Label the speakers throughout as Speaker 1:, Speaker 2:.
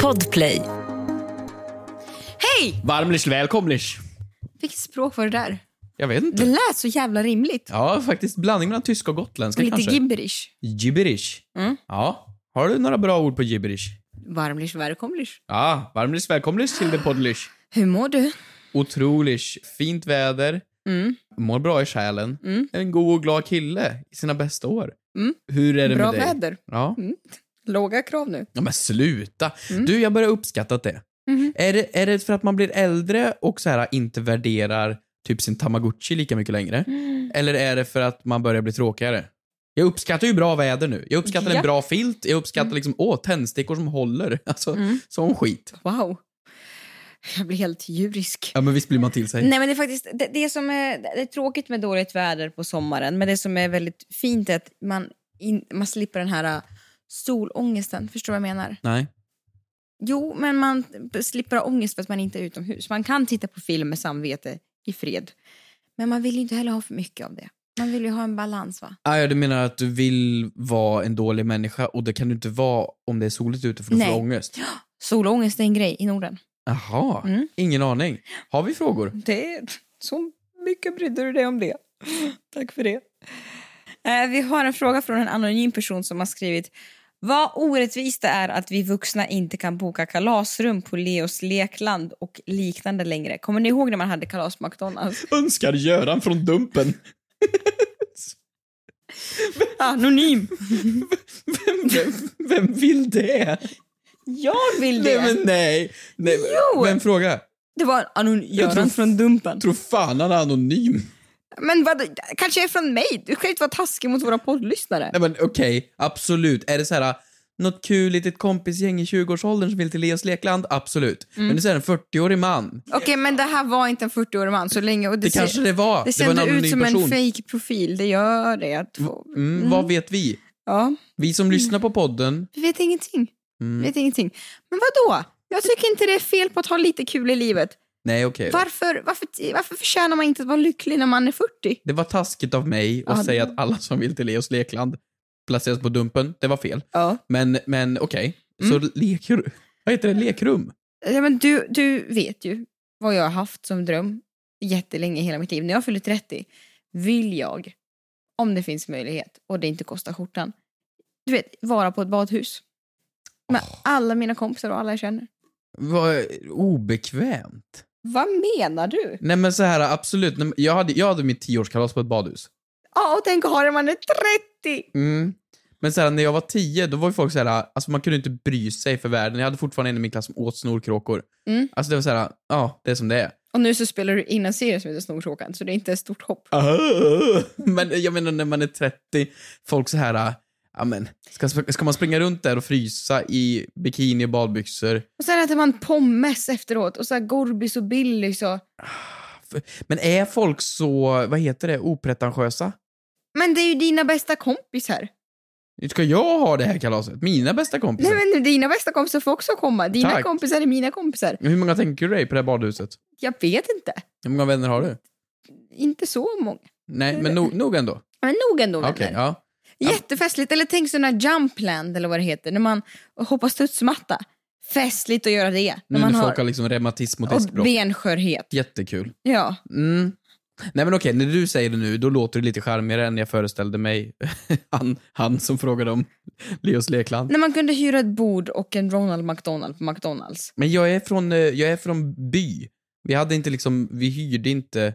Speaker 1: Podplay.
Speaker 2: Hej!
Speaker 3: Varmlich välkomlich.
Speaker 2: Vilket språk var det där?
Speaker 3: Jag vet
Speaker 2: Det
Speaker 3: inte.
Speaker 2: lät så jävla rimligt.
Speaker 3: Ja, faktiskt blandning mellan tyska och gotländska
Speaker 2: Lite
Speaker 3: kanske.
Speaker 2: gibberish.
Speaker 3: Gibberish.
Speaker 2: Mm.
Speaker 3: Ja. Har du några bra ord på gibberish?
Speaker 2: Varmlich välkomlich.
Speaker 3: Ja, varmlich välkomlich till det poddlish.
Speaker 2: Hur mår du?
Speaker 3: Otroligt fint väder.
Speaker 2: Mm.
Speaker 3: Mår bra i själen.
Speaker 2: Mm.
Speaker 3: En god och glad kille i sina bästa år.
Speaker 2: Mm.
Speaker 3: Hur är det
Speaker 2: Bra
Speaker 3: med dig?
Speaker 2: väder.
Speaker 3: Ja.
Speaker 2: Låga krav nu.
Speaker 3: ja, men sluta.
Speaker 2: Mm.
Speaker 3: Du, jag börjar uppskatta det.
Speaker 2: Mhm.
Speaker 3: Är, det. är det för att man blir äldre och så här inte värderar typ sin tamagotchi lika mycket längre? Eller är det för att man börjar bli tråkigare? Jag uppskattar ju bra väder nu. Jag uppskattar
Speaker 2: Ja.
Speaker 3: en bra filt. Jag uppskattar liksom, åh, tändstickor som håller. Alltså,
Speaker 2: Mm.
Speaker 3: sån skit.
Speaker 2: Wow. Jag blir helt djurisk.
Speaker 3: Ja, men visst blir man till sig.
Speaker 2: Nej, men det, är faktiskt, det, det, som är, det är tråkigt med dåligt väder på sommaren men det som är väldigt fint är att man, in, man slipper den här äh, solångesten. Förstår du vad jag menar?
Speaker 3: Nej.
Speaker 2: Jo, men man slipper ha ångest för att man inte är utomhus. Man kan titta på film med samvete i fred. Men man vill ju inte heller ha för mycket av det. Man vill ju ha en balans va?
Speaker 3: Ah, ja, du menar att du vill vara en dålig människa och det kan du inte vara om det är soligt ute för då får
Speaker 2: Nej.
Speaker 3: du ångest.
Speaker 2: Solångest är en grej i Norden.
Speaker 3: Jaha,
Speaker 2: Mm.
Speaker 3: ingen aning. Har vi frågor?
Speaker 2: Det är så mycket brydde du dig om det. Tack för det. Eh, vi har en fråga från en anonym person som har skrivit Vad orättvist det är att vi vuxna inte kan boka kalasrum på Leos lekland och liknande längre. Kommer ni ihåg när man hade kalas på McDonalds?
Speaker 3: Önskar Göran från Dumpen.
Speaker 2: Anonym!
Speaker 3: Vem, vem, vem vill det?
Speaker 2: Jag vill det!
Speaker 3: Nej, men nej. nej.
Speaker 2: Jo!
Speaker 3: Vem frågar?
Speaker 2: Det var anon- Göran
Speaker 3: tror-
Speaker 2: från Dumpen.
Speaker 3: Tror fan han är anonym.
Speaker 2: Men vad, kanske är från mig? Du kan ju inte vara taskig mot våra poddlyssnare.
Speaker 3: Nej men okej, absolut. Är det så här äh, något kul litet kompisgäng i 20-årsåldern som vill till Leos lekland? Absolut. Men det är så här en 40-årig man.
Speaker 2: Okej, men Mm. det här var inte en 40-årig man så länge. Och det
Speaker 3: Det
Speaker 2: ser-
Speaker 3: kanske det var.
Speaker 2: det
Speaker 3: Det var en
Speaker 2: sänder ut
Speaker 3: anonym
Speaker 2: som
Speaker 3: person.
Speaker 2: en fake profil Det gör det. Jag tror-
Speaker 3: Mm, vad vet vi?
Speaker 2: Ja,
Speaker 3: Vi som lyssnar på podden.
Speaker 2: vi vet ingenting.
Speaker 3: Mm.
Speaker 2: Mm. Vi vet ingenting. Men vad då? Jag tycker inte det är fel på att ha lite kul i livet.
Speaker 3: Nej okej. då.
Speaker 2: Varför, varför, varför förtjänar man inte att vara lycklig när man är 40?
Speaker 3: Det var taskigt av mig att
Speaker 2: Ja,
Speaker 3: säga att alla som vill till Leos lekland placeras på dumpen. Det var fel.
Speaker 2: Ja.
Speaker 3: Men, men okej.
Speaker 2: Mm.
Speaker 3: Så lekrum. Vad heter det? Lekrum?
Speaker 2: Ja, men du, du vet ju vad jag har haft som dröm jättelänge i hela mitt liv. När jag fyller 30 vill jag, om det finns möjlighet och det inte kostar skjortan, du vet, vara på ett badhus. Med alla mina kompisar och alla jag känner.
Speaker 3: Vad obekvämt.
Speaker 2: Vad menar du?
Speaker 3: Nej men så här absolut. Nej, men Jag hade, jag hade mitt 10-årskalas på ett badhus.
Speaker 2: Ja, och tänk att ha det när man är 30!
Speaker 3: Mm. Men så här, när jag var tio, då var ju folk så här, alltså man kunde inte bry sig för världen. Jag hade fortfarande en i min klass som åt snorkråkor.
Speaker 2: Mm.
Speaker 3: Alltså det var så här, ja, det är som det är.
Speaker 2: Och nu så spelar du in en serie som heter Snorkråkan, så det är inte ett stort hopp.
Speaker 3: Men jag menar när man är 30, folk så här, ja men, ska, ska man springa runt där och frysa i bikini och badbyxor?
Speaker 2: Och sen äter man pommes efteråt, och så här Gorbis och Billys och...
Speaker 3: Ah, Men är folk så, vad heter det, opretentiösa?
Speaker 2: Men det är ju dina bästa kompisar.
Speaker 3: Nu Ska jag ha det här kalaset? Mina bästa kompisar?
Speaker 2: Nej men dina bästa kompisar får också komma. Dina
Speaker 3: Liksom. Tack.
Speaker 2: kompisar är mina kompisar.
Speaker 3: Hur många tänker du dig på det här badhuset?
Speaker 2: Jag vet inte.
Speaker 3: Hur många vänner har du?
Speaker 2: Inte så många.
Speaker 3: Nej, men no, nog ändå.
Speaker 2: Men nog ändå
Speaker 3: Okej,
Speaker 2: vänner.
Speaker 3: ja.
Speaker 2: Jättefestligt. Eller tänk sådana här jumpland eller vad det heter. När man hoppar studsmatta. Festligt att göra det.
Speaker 3: Nu
Speaker 2: När man
Speaker 3: när folk har liksom reumatism och
Speaker 2: och
Speaker 3: diskbråck.
Speaker 2: benskörhet.
Speaker 3: Jättekul.
Speaker 2: Ja.
Speaker 3: Mm. Nej men okej, när du säger det nu, då låter det lite charmigare än jag föreställde mig. han, han som frågade om Leos lekland.
Speaker 2: När man kunde hyra ett bord och en Ronald McDonald på McDonalds.
Speaker 3: Men jag är från, eh, jag är från by. Vi hade inte liksom, vi hyrde inte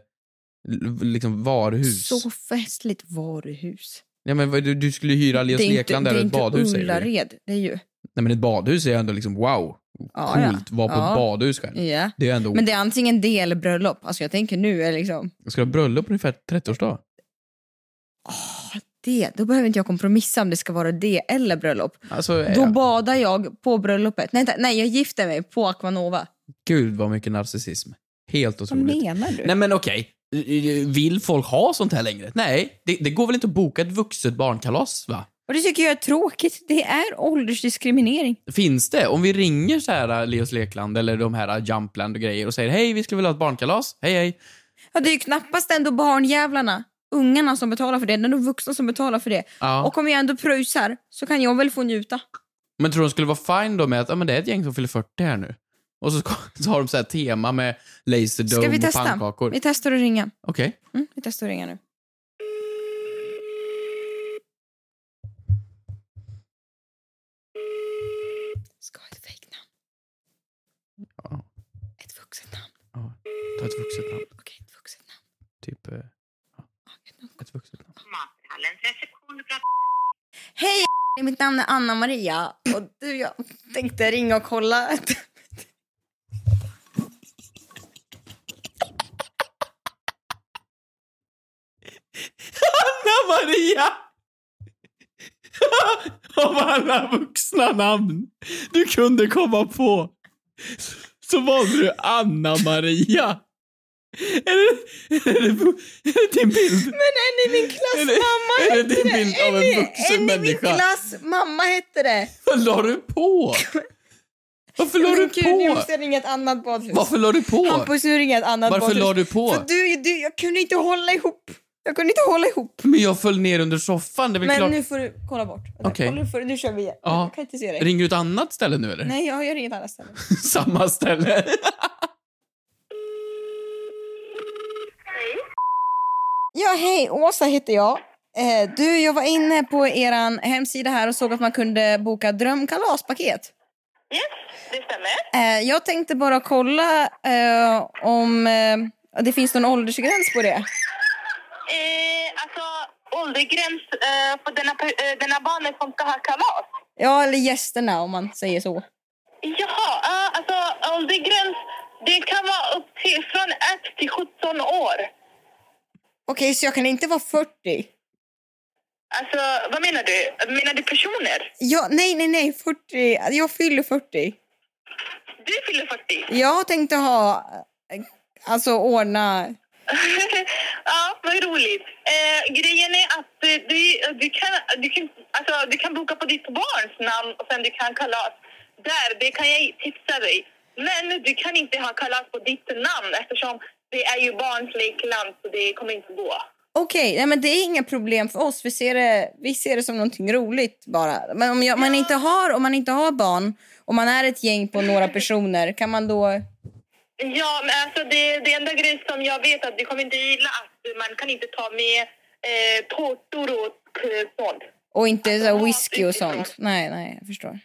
Speaker 3: l- liksom varuhus.
Speaker 2: Så festligt varuhus.
Speaker 3: Ja, men vad- du, du skulle hyra Leos
Speaker 2: det är
Speaker 3: lekland
Speaker 2: inte,
Speaker 3: eller
Speaker 2: det är
Speaker 3: ett
Speaker 2: inte
Speaker 3: badhus säger du.
Speaker 2: Ullared. Det är ju...
Speaker 3: Nej men ett badhus är ändå liksom wow.
Speaker 2: Ja, ja.
Speaker 3: Coolt, vara på
Speaker 2: Ja.
Speaker 3: ett badhus själv.
Speaker 2: Ja.
Speaker 3: Det är ändå,
Speaker 2: Men det är antingen det eller bröllop. Alltså jag tänker nu är liksom...
Speaker 3: ska du ha bröllop på ungefär 30-årsdag?
Speaker 2: Det, då behöver inte jag kompromissa om det ska vara det eller bröllop.
Speaker 3: Alltså,
Speaker 2: Då
Speaker 3: eh,
Speaker 2: badar jag på bröllopet. Nej, vänta, nej jag gifter mig på Aquanova.
Speaker 3: gud vad mycket narcissism. Helt
Speaker 2: Vad
Speaker 3: otroligt.
Speaker 2: menar du?
Speaker 3: Nej men okej, vill folk ha sånt här längre? Nej, det, det går väl inte att boka ett vuxet barnkalas va?
Speaker 2: Och det tycker jag är tråkigt. Det är åldersdiskriminering.
Speaker 3: Finns det? Om vi ringer så här äh, Leos Lekland eller de här äh, Jumpland och grejer och säger hej, vi skulle vilja ha ett barnkalas, hej hej.
Speaker 2: Ja, det är ju knappast ändå barnjävlarna, ungarna som betalar för det. Det är de vuxna som betalar för det.
Speaker 3: Ja.
Speaker 2: Och om jag ändå pröjsar så kan jag väl få njuta.
Speaker 3: Men tror du de skulle vara fine då med att ah, men det är ett gäng som fyller 40 här nu? Och så, så har de så här tema med
Speaker 2: Ska vi
Speaker 3: laserdome och
Speaker 2: testa?
Speaker 3: pannkakor.
Speaker 2: Vi testar att ringa.
Speaker 3: Okej.
Speaker 2: Mm, vi testar att ringa nu. Ska ha ett fejknamn.
Speaker 3: Ja.
Speaker 2: Ett vuxet namn.
Speaker 3: Ta ett vuxet namn.
Speaker 2: Okej, ett vuxet namn.
Speaker 3: Typ eh,
Speaker 2: Ja, ett namn.
Speaker 3: ett vuxet namn.
Speaker 1: Mathallens reception. Du pratar
Speaker 2: Hej! Mitt namn är Anna Maria och du, jag tänkte ringa och kolla.
Speaker 3: Anna-Maria! Av alla vuxna namn du kunde komma på så valde du Anna-Maria. Är det, är, det, är det din bild?
Speaker 2: Men är ni min klass
Speaker 3: Är det-
Speaker 2: mamma
Speaker 3: är det
Speaker 2: hette
Speaker 3: din bild av en
Speaker 2: Är ni-
Speaker 3: vuxen
Speaker 2: Är ni min
Speaker 3: människa?
Speaker 2: klass mamma hette det?
Speaker 3: Vad la du på? Varför la du
Speaker 2: Men gud, nu
Speaker 3: på?
Speaker 2: måste jag ringa ett annat badhus.
Speaker 3: Varför la du på?
Speaker 2: Hampus, nu ringer jag ett annat
Speaker 3: Varför
Speaker 2: badhus.
Speaker 3: la du
Speaker 2: För
Speaker 3: på?
Speaker 2: du, du, jag kunde inte hålla ihop. Jag kunde inte hålla ihop.
Speaker 3: Men jag föll ner under soffan. Det är väl
Speaker 2: Men
Speaker 3: klart.
Speaker 2: nu får du kolla bort.
Speaker 3: Okej.
Speaker 2: Kolla, för, nu kör vi igen.
Speaker 3: Ja.
Speaker 2: Jag kan inte se dig.
Speaker 3: Ringer du ett annat ställe nu eller?
Speaker 2: Nej, jag gör inget annat ställe.
Speaker 3: Samma ställe?
Speaker 2: Ja, hej. Åsa heter jag. Eh, du, jag var inne på er hemsida här och såg att man kunde boka drömkalaspaket.
Speaker 1: Yes, det stämmer.
Speaker 2: Eh, jag tänkte bara kolla eh, om eh, det finns någon åldersgräns på det.
Speaker 1: Eh, alltså, åldergräns eh, på denna, pe- eh, denna barnen som ska ha kalas.
Speaker 2: Ja, eller gästerna om man säger så.
Speaker 1: Jaha, eh, alltså åldergräns det kan vara upp till från 1 till 17 år.
Speaker 2: Okej, så jag kan inte vara 40?
Speaker 1: Alltså, vad menar du? Menar du personer?
Speaker 2: Ja, nej, nej, nej. 40. Jag fyller 40.
Speaker 1: Du fyller 40.
Speaker 2: Jag tänkte ha... eh, Alltså ordna...
Speaker 1: ja, vad roligt. Eh, grejen är att eh, du, du, kan, du, kan, alltså, du kan boka på ditt barns namn och sen du kan ha kalas där. Det kan jag tipsa dig. Men du kan inte ha kalas på ditt namn eftersom det är ju barns lekland så det kommer inte gå.
Speaker 2: Okej, nej, men det är inga problem för oss. Vi ser det, vi ser det som någonting roligt bara. Men om jag, man inte har, om man inte har barn och man är ett gäng på några personer, kan man då...
Speaker 1: Ja, men alltså det, det enda grejen som jag vet att du kommer inte gilla att man kan inte ta med eh, tårtor och eh, sånt.
Speaker 2: Och inte så här, whisky och sånt? Nej, nej, jag förstår.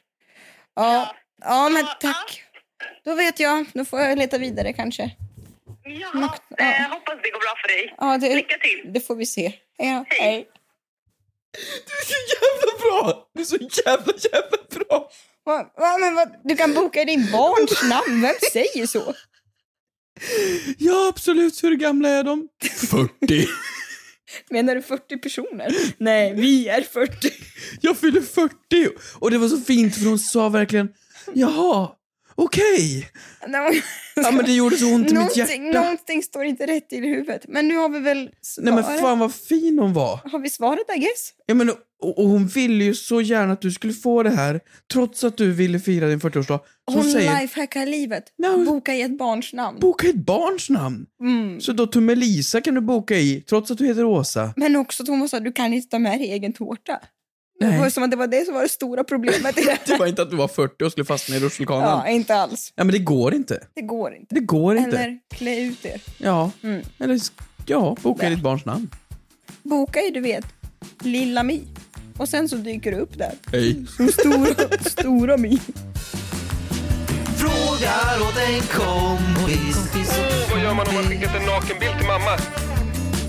Speaker 2: Ja, ja men tack. Då vet jag. Då får jag leta vidare kanske.
Speaker 1: Ja,
Speaker 2: Något- ja.
Speaker 1: eh, hoppas det går bra för dig.
Speaker 2: Ja, det,
Speaker 1: Lycka till!
Speaker 2: det får vi se. Hej då.
Speaker 1: Hej.
Speaker 2: Hej.
Speaker 3: Du är så jävla bra! Du är så jävla, jävla bra!
Speaker 2: Va, va, men vad- du kan boka i din barns namn. Vem säger så?
Speaker 3: Ja, absolut. Hur gamla är de? 40.
Speaker 2: Menar du 40 personer? Nej, vi är 40.
Speaker 3: Jag fyller 40! Och det var så fint för hon sa verkligen jaha, okej. Ja men det gjorde så ont i mitt
Speaker 2: någonting,
Speaker 3: hjärta.
Speaker 2: någonting står inte rätt i huvudet. Men nu har vi väl
Speaker 3: Nej men
Speaker 2: svaret.
Speaker 3: fan vad fin hon var.
Speaker 2: Har vi svaret, I guess?
Speaker 3: Ja, men, och, och hon ville ju så gärna att du skulle få det här trots att du ville fira din 40-årsdag. Så hon
Speaker 2: Hon
Speaker 3: säger
Speaker 2: lifehackar livet.
Speaker 3: Nej, hon-
Speaker 2: Boka i ett barns namn.
Speaker 3: boka ett barns namn.
Speaker 2: Mm.
Speaker 3: Så då Tummelisa kan du boka i trots att du heter Åsa.
Speaker 2: Men också Thomas sa du kan inte ta med dig egen tårta. Det var
Speaker 3: Nej.
Speaker 2: som att det var det som var det stora problemet. I det.
Speaker 3: Det var inte att du var 40 och skulle fastna i rutschkanan. Ja.
Speaker 2: ja, inte alls.
Speaker 3: ja men det går inte.
Speaker 2: Det går inte.
Speaker 3: Det går inte.
Speaker 2: Eller klä ut er.
Speaker 3: Ja.
Speaker 2: Mm.
Speaker 3: Eller s- ja, boka i ditt barns namn.
Speaker 2: Boka i, du vet, Lilla Mi. Och sen så dyker du upp där.
Speaker 3: Hej.
Speaker 2: Som stora, stora Mi.
Speaker 4: Frågar åt en kompis.
Speaker 5: Oh, vad gör man om man skickat en nakenbild till mamma?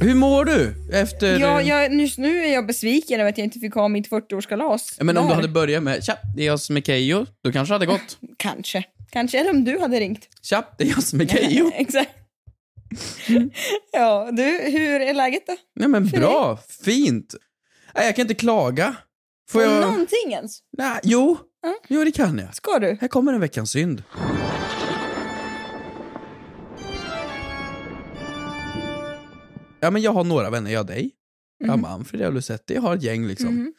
Speaker 3: Hur mår du efter...
Speaker 2: Ja, jag, nyss, nu är jag besviken över att jag inte fick ha mitt 40-årskalas.
Speaker 3: Ja, Men om
Speaker 2: där.
Speaker 3: du hade börjat med “Tja, det är jag som är Keyyo”, då kanske det hade gått.
Speaker 2: Kanske. Kanske eller om du hade ringt.
Speaker 3: “Tja, det är jag som är Keyyo”.
Speaker 2: Exakt.
Speaker 3: Mm.
Speaker 2: ja, du, hur är läget då?
Speaker 3: Nej men bra, fint. Nej, jag kan inte klaga. Får
Speaker 2: Får
Speaker 3: jag...
Speaker 2: någonting ens?
Speaker 3: Nej, jo.
Speaker 2: Ja.
Speaker 3: Jo, det kan jag.
Speaker 2: Ska du?
Speaker 3: Här kommer en veckans synd. ja men jag har några vänner, jag har dig, jag har
Speaker 2: Mhm.
Speaker 3: Manfred, jag har Lucetti, jag har ett gäng liksom.
Speaker 2: Mhm.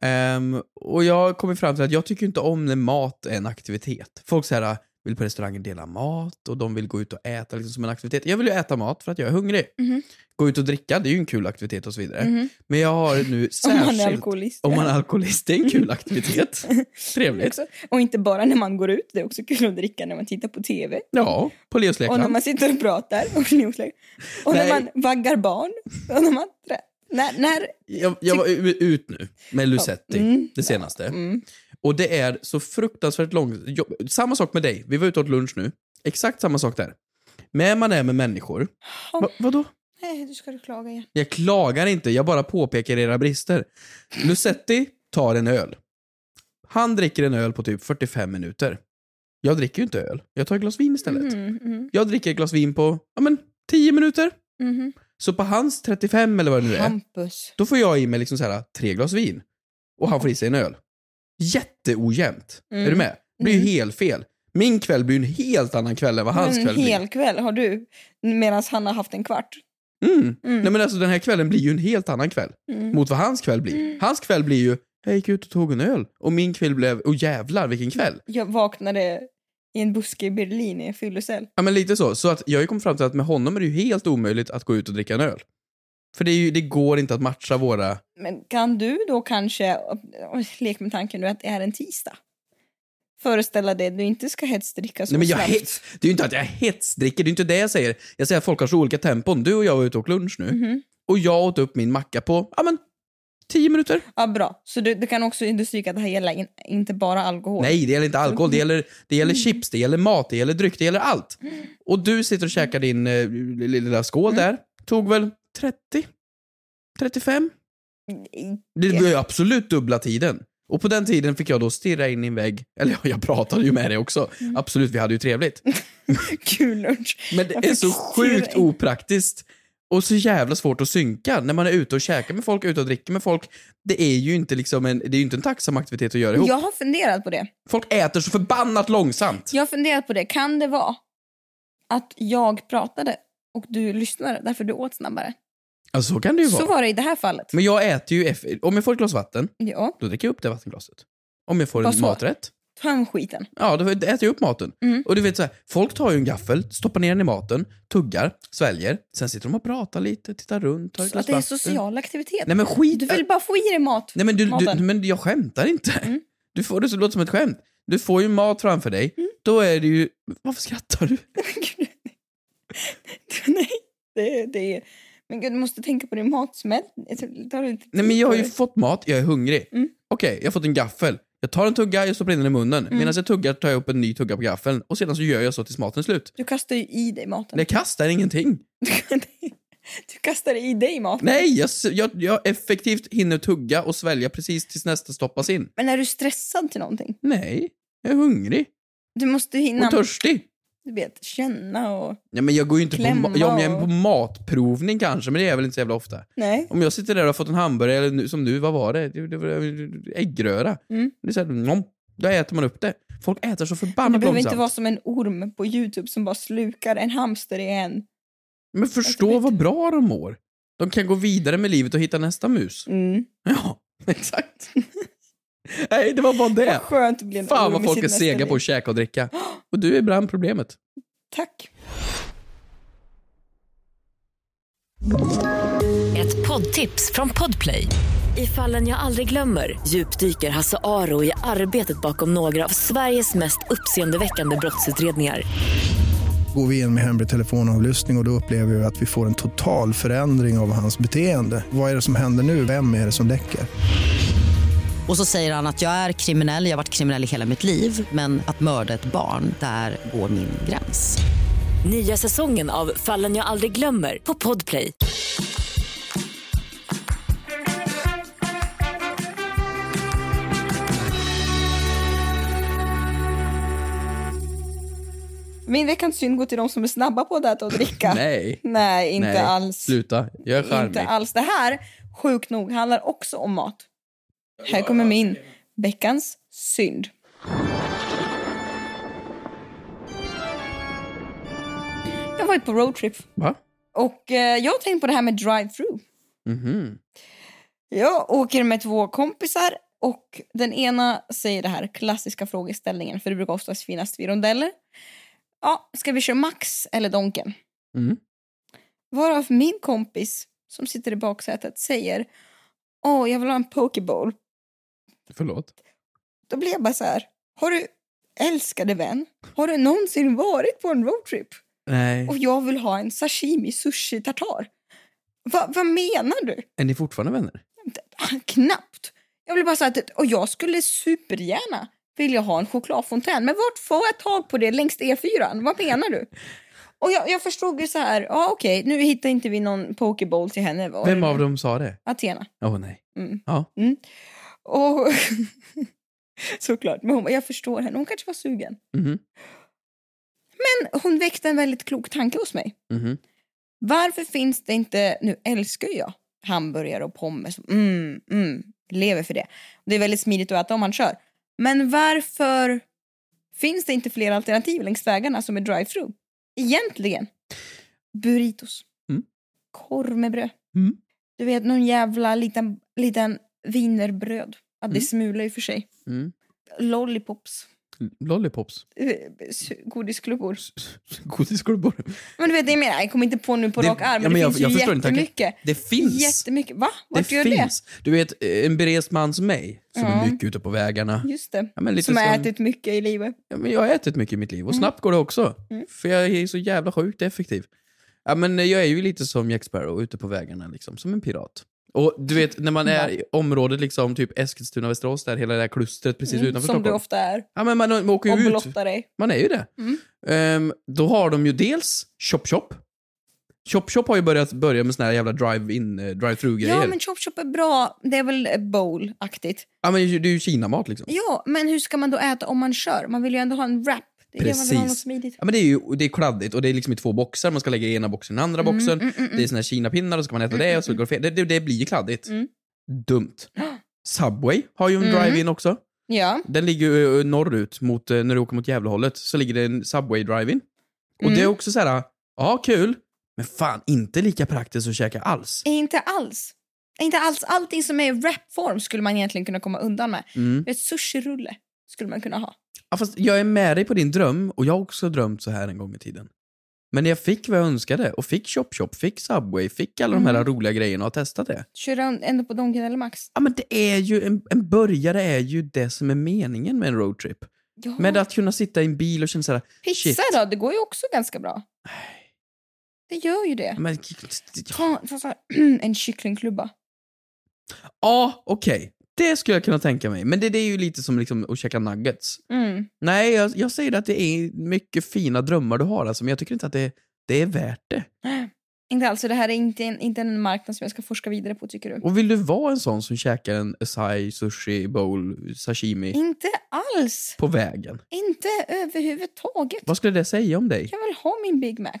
Speaker 3: Ehm, och jag har kommit fram till att jag tycker inte om när mat är en aktivitet. Folk så här, vill på restauranger dela mat och de vill gå ut och äta liksom, som en aktivitet. Jag vill ju äta mat för att jag är hungrig.
Speaker 2: Mhm.
Speaker 3: Gå ut och dricka, det är ju en kul aktivitet och så vidare.
Speaker 2: Mhm.
Speaker 3: Men jag har nu
Speaker 2: Om
Speaker 3: särskilt...
Speaker 2: man är alkoholist.
Speaker 3: Om man är alkoholist, det är en kul aktivitet. Trevligt.
Speaker 2: Också. Och inte bara när man går ut, det är också kul att dricka när man tittar på TV.
Speaker 3: Ja, på Leos
Speaker 2: Och när
Speaker 3: lekland.
Speaker 2: man sitter och pratar. Och, opinionslek. och när
Speaker 3: Nej.
Speaker 2: man vaggar barn. Och när man trä- när, när,
Speaker 3: Jag, jag var u- ut nu med Lucetti,
Speaker 2: Mm.
Speaker 3: det senaste.
Speaker 2: mm.
Speaker 3: Och det är så fruktansvärt långt. jobb- Samma sak med dig, vi var ute åt lunch nu. Exakt samma sak där. Men man är med människor.
Speaker 2: Ja.
Speaker 3: Va, vadå?
Speaker 2: Nej, du ska du klaga igen.
Speaker 3: Jag klagar inte, jag bara påpekar era brister. Lucetti tar en öl. Han dricker en öl på typ 45 minuter. Jag dricker ju inte öl, jag tar ett glas vin istället.
Speaker 2: Mm, mm,
Speaker 3: Jag dricker ett glas vin på, ja men, 10 minuter.
Speaker 2: mhm.
Speaker 3: Så på hans 35 eller vad det nu är,
Speaker 2: Hampus.
Speaker 3: då får jag i mig liksom så här, tre glas vin. Och han får i sig en öl. Jätteojämnt.
Speaker 2: Mm.
Speaker 3: Är du med? Det blir ju
Speaker 2: Mm.
Speaker 3: helt fel. Min kväll blir ju en helt annan kväll än vad hans
Speaker 2: En
Speaker 3: kväll
Speaker 2: hel kväll har du, medan han har haft en kvart.
Speaker 3: blir. Mm.
Speaker 2: Mm.
Speaker 3: Nej men alltså den här kvällen blir ju en helt annan kväll.
Speaker 2: Mm.
Speaker 3: Mot vad hans kväll blir. Hans kväll blir ju, jag gick ut och tog en öl. Och min kväll blev, åh jävlar vilken kväll.
Speaker 2: Jag vaknade i en buske i Berlin i en fyllecell.
Speaker 3: Ja men lite så. Så att jag har ju kommit fram till att med honom är det ju helt omöjligt att gå ut och dricka en öl. För det, är ju, det går inte att matcha våra...
Speaker 2: Men kan du då kanske, och lek med tanken nu att det är en tisdag. Föreställa dig att du inte ska hetsdricka så
Speaker 3: Nej, men jag
Speaker 2: snabbt.
Speaker 3: hets, det är ju inte att jag hetsdricker, det är ju inte det jag säger. Jag säger att folk har så olika tempon. Du och jag var ute och åt lunch nu.
Speaker 2: Mhm.
Speaker 3: Och jag åt upp min macka på, ja men, tio minuter.
Speaker 2: Ja, bra. Så du, du kan också understryka att det här gäller in, inte bara alkohol.
Speaker 3: Nej, det gäller inte alkohol, det gäller, det gäller chips, det gäller mat, det gäller dryck, det gäller allt. Och du sitter och käkar din eh, lilla skål där. Tog väl 30? 35? Det var ju absolut dubbla tiden. Och på den tiden fick jag då stirra in i en vägg. Eller ja, jag pratade ju med dig också. Absolut, vi hade ju trevligt.
Speaker 2: Kul lunch.
Speaker 3: Men det
Speaker 2: Jag
Speaker 3: är
Speaker 2: fick
Speaker 3: så sjukt
Speaker 2: stirra in.
Speaker 3: opraktiskt och så jävla svårt att synka när man är ute och käkar med folk, ute och dricker med folk. Det är ju inte liksom en, det är ju inte en tacksam aktivitet att göra ihop.
Speaker 2: Jag har funderat på det.
Speaker 3: Folk äter så förbannat långsamt.
Speaker 2: Jag har funderat på det. Kan det vara att jag pratade och du lyssnade därför du åt snabbare?
Speaker 3: Ja, Alltså, så kan det ju
Speaker 2: Så
Speaker 3: vara.
Speaker 2: var det i det här fallet.
Speaker 3: Men jag äter ju, eff- om jag får ett glas vatten,
Speaker 2: Ja,
Speaker 3: då dricker jag upp det vattenglaset. Om jag får
Speaker 2: Vad
Speaker 3: en
Speaker 2: så?
Speaker 3: maträtt,
Speaker 2: ta hem skiten.
Speaker 3: ja då äter jag upp maten.
Speaker 2: Mm.
Speaker 3: Och du vet så här, folk tar ju en gaffel, stoppar ner den i maten, tuggar, sväljer, sen sitter de och pratar lite, tittar runt, tar ett
Speaker 2: Så
Speaker 3: glas
Speaker 2: att det är
Speaker 3: vatten.
Speaker 2: social aktivitet.
Speaker 3: Nej men skit
Speaker 2: Du vill bara få i dig mat.
Speaker 3: Nej men, du, du,
Speaker 2: Maten.
Speaker 3: men jag skämtar inte.
Speaker 2: Mm.
Speaker 3: Du får det så det låter som ett skämt. Du får ju mat framför dig. Då är det ju... Varför skrattar du?
Speaker 2: Gud. Nej, det, det är... Men gud, du måste tänka på din matsmält. Jag tror- tar du inte
Speaker 3: Nej men jag har ju fått mat, jag är hungrig.
Speaker 2: Mm.
Speaker 3: Okej, jag har fått en gaffel. Jag tar en tugga, jag stoppar in den i munnen.
Speaker 2: Mm.
Speaker 3: Medan jag tuggar tar jag upp en ny tugga på gaffeln. Och sedan så gör jag så tills maten är slut.
Speaker 2: Du kastar ju i dig maten.
Speaker 3: Men jag kastar ingenting.
Speaker 2: Du kastar i dig maten.
Speaker 3: Nej, jag, s- jag, jag effektivt hinner tugga och svälja precis tills nästa stoppas in.
Speaker 2: Men är du stressad till någonting?
Speaker 3: Nej, jag är hungrig.
Speaker 2: Du måste ju hinna
Speaker 3: Och törstig.
Speaker 2: du vet, känna och...
Speaker 3: Ja, men jag går ju inte på, ma-
Speaker 2: Klämma
Speaker 3: ja, men jag är
Speaker 2: och-
Speaker 3: på matprovning kanske, men det är jag väl inte så jävla ofta.
Speaker 2: Nej.
Speaker 3: Om jag sitter där och har fått en hamburgare, eller nu, som nu, vad var det? Det, det var äggröra.
Speaker 2: Mm.
Speaker 3: Det är så här, nom, då äter man upp det. Folk äter så
Speaker 2: Du
Speaker 3: förbannat
Speaker 2: behöver
Speaker 3: långsamt.
Speaker 2: inte vara som en orm på Youtube som bara slukar en hamster i en.
Speaker 3: Men förstå
Speaker 2: vet-
Speaker 3: vad bra de mår. De kan gå vidare med livet och hitta nästa mus.
Speaker 2: Mm.
Speaker 3: Ja, exakt. Nej, det var bara det.
Speaker 2: Skönt att bli en
Speaker 3: Fan
Speaker 2: orm
Speaker 3: vad
Speaker 2: i
Speaker 3: folk
Speaker 2: sitt
Speaker 3: är
Speaker 2: nästa
Speaker 3: sega på
Speaker 2: liv.
Speaker 3: att käka och dricka. Och du är ibland problemet.
Speaker 2: Tack.
Speaker 6: Ett poddtips från Podplay. I fallen jag aldrig glömmer djupdyker Hasse Aro i arbetet bakom några av Sveriges mest uppseendeväckande brottsutredningar.
Speaker 7: Går vi in med hemlig telefonavlyssning och, och då upplever vi att vi får en total förändring av hans beteende. Vad är det som händer nu? Vem är det som läcker?
Speaker 8: Och så säger han att jag är kriminell, jag har varit kriminell i hela mitt liv men att mörda ett barn, där går min gräns.
Speaker 6: Nya säsongen av Fallen jag aldrig glömmer på Podplay.
Speaker 2: Min veckans synd går till de som är snabba på att äta och dricka.
Speaker 3: Nej.
Speaker 2: Nej, inte
Speaker 3: Nej,
Speaker 2: alls.
Speaker 3: Sluta, jag är charmig.
Speaker 2: Inte alls. Det här, sjukt nog, handlar också om mat. Här kommer min veckans synd. Jag har varit på roadtrip
Speaker 3: Va?
Speaker 2: Och eh, jag har tänkt på det här med drive-through.
Speaker 3: Mhm.
Speaker 2: Jag åker med två kompisar och den ena säger det här klassiska frågeställningen för det brukar oftast finnas vid rondeller. Ja, ska vi köra Max eller Donken?
Speaker 3: Mm.
Speaker 2: Varav min kompis som sitter i baksätet säger Åh, jag vill ha en pokeball.
Speaker 3: Förlåt.
Speaker 2: Då blir jag bara så här, har du älskade vän, har du någonsin varit på en roadtrip?
Speaker 3: Nej.
Speaker 2: Och jag vill ha en sashimi sushi tartar. Va, vad menar du?
Speaker 3: Är ni fortfarande vänner?
Speaker 2: Ah, Knappt. Jag vill bara säga att och jag skulle supergärna vilja ha en chokladfontän. Men vart får jag tag på det längs E4? Vad menar du? Och jag, jag förstod ju så här, ja okej, nu hittar inte vi någon pokeball till henne. Var
Speaker 3: Vem
Speaker 2: det-
Speaker 3: av dem sa det?
Speaker 2: Athena.
Speaker 3: Åh nej.
Speaker 2: Mm.
Speaker 3: Ja.
Speaker 2: Mm. Och såklart, men hon, bara, jag förstår henne. Hon kanske var sugen.
Speaker 3: Mhm.
Speaker 2: Men hon väckte en väldigt klok tanke hos mig.
Speaker 3: Mhm.
Speaker 2: Varför finns det inte, nu älskar ju jag hamburgare och pommes, mm, mm, lever för det. Det är väldigt smidigt att äta om man kör. Men varför finns det inte fler alternativ längs vägarna som är drive-through? Egentligen. Burritos.
Speaker 3: Mm.
Speaker 2: Korv med bröd.
Speaker 3: Mm.
Speaker 2: Du vet, någon jävla liten, liten wienerbröd. Ja, det
Speaker 3: Mm.
Speaker 2: smular ju för sig.
Speaker 3: Mm.
Speaker 2: Lollipops.
Speaker 3: Lollipops.
Speaker 2: Eh, s- Godisklubbor.
Speaker 3: Godiskorvbord.
Speaker 2: Men du vet, jag, menar, jag kommer inte på nu på
Speaker 3: Det-
Speaker 2: rak arm, men
Speaker 3: ja, men
Speaker 2: det
Speaker 3: jag-
Speaker 2: finns
Speaker 3: jag
Speaker 2: ju
Speaker 3: förstår din tanke.
Speaker 2: jättemycket.
Speaker 3: Det finns.
Speaker 2: Jättemycket. Va? Vart
Speaker 3: det
Speaker 2: gör
Speaker 3: finns. Du vet, eh, en berest man som mig, som
Speaker 2: Ja.
Speaker 3: är mycket ute på vägarna.
Speaker 2: det? Just det.
Speaker 3: Ja, men lite
Speaker 2: som har
Speaker 3: som-
Speaker 2: ätit mycket i livet.
Speaker 3: Ja, men jag har ätit mycket i mitt liv och
Speaker 2: Mm.
Speaker 3: snabbt går det också. För jag är så jävla sjukt effektiv. Ja, men eh, jag är ju lite som Jack Sparrow ute på vägarna, liksom, som en pirat. Och du vet, när man är i området liksom, typ Eskilstuna, Västerås, där hela det här klustret precis
Speaker 2: Mm,
Speaker 3: utanför
Speaker 2: som du
Speaker 3: Stockholm.
Speaker 2: ofta är.
Speaker 3: Ja, men man, man åker
Speaker 2: Och
Speaker 3: ju ut.
Speaker 2: blottar dig.
Speaker 3: Man är ju det.
Speaker 2: Mm.
Speaker 3: Ehm, då har de ju dels Chop Chop. Chop Chop har ju börjat börja med såna här jävla drive-in, eh, drive-through-grejer.
Speaker 2: Ja, men chop chop är bra. Det är väl eh, bowl-aktigt.
Speaker 3: ja, men det är ju Kinamat liksom.
Speaker 2: Ja, men hur ska man då äta om man kör? Man vill ju ändå ha en wrap. Det är det man vill ha
Speaker 3: Precis.
Speaker 2: något smidigt.
Speaker 3: Ja, men det är ju det är kladdigt och det är liksom i två boxar. Man ska lägga i ena boxen i den
Speaker 2: Mm,
Speaker 3: andra boxen. Det är såna här kinapinnar och så ska man äta det och så går det fel. Det, det, det blir ju kladdigt.
Speaker 2: Mm.
Speaker 3: Dumt. Subway har ju en
Speaker 2: Mm.
Speaker 3: drive-in också.
Speaker 2: Ja.
Speaker 3: Den ligger ju eh, norrut, mot, eh, när du åker mot Gävlehållet, så ligger det en Subway drive-in. Och
Speaker 2: Mm.
Speaker 3: det är också så här, ja kul, men fan inte lika praktiskt att käka alls.
Speaker 2: Inte alls. Inte alls. Allting som är i wrapform skulle man egentligen kunna komma undan med.
Speaker 3: Mm.
Speaker 2: Ett sushirulle skulle man kunna ha.
Speaker 3: Ja, fast jag är med dig på din dröm och jag har också drömt så här en gång i tiden. Men jag fick vad jag önskade och fick Chop Chop, fick Subway, fick alla
Speaker 2: Mm.
Speaker 3: de här roliga grejerna och har testat det.
Speaker 2: Köra en- ändå på Donken eller Max.
Speaker 3: Ja, men det är ju, en, en börjare är ju det som är meningen med en roadtrip.
Speaker 2: Ja.
Speaker 3: Med att kunna sitta i en bil och känna såhär,
Speaker 2: Pizza
Speaker 3: shit.
Speaker 2: då, det går ju också ganska bra. Det gör ju det.
Speaker 3: Men,
Speaker 2: Ta, ta så här, äh, en kycklingklubba.
Speaker 3: ja, okej. Det skulle jag kunna tänka mig. Men det, det är ju lite som liksom att käka nuggets.
Speaker 2: Mm.
Speaker 3: Nej, jag, jag säger att det är mycket fina drömmar du har alltså, men jag tycker inte att det, det är värt det.
Speaker 2: Inte alls, så det här är inte en, inte en marknad som jag ska forska vidare på tycker du?
Speaker 3: Och vill du vara en sån som käkar en acai, sushi, bowl, sashimi
Speaker 2: Inte alls!
Speaker 3: på vägen?
Speaker 2: Inte överhuvudtaget.
Speaker 3: Vad skulle det säga om dig?
Speaker 2: Jag vill ha min Big Mac.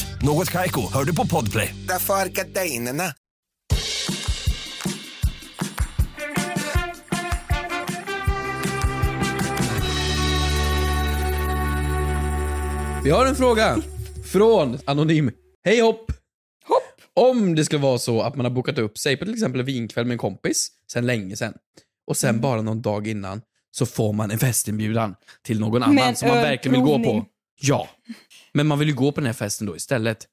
Speaker 9: Något Kaiko, hör du på Podplay.
Speaker 10: Därför är gardinerna.
Speaker 3: Vi har en fråga från Anonym. Hej hopp!
Speaker 2: Hopp!
Speaker 3: Om det skulle vara så att man har bokat upp sig på till exempel en vinkväll med en kompis sen länge sen och sen
Speaker 2: Mm.
Speaker 3: bara någon dag innan så får man en festinbjudan till någon annan
Speaker 2: Med
Speaker 3: som man verkligen vill gå på.
Speaker 2: ölprovning.
Speaker 3: Ja. Men man vill ju gå på den här festen då istället.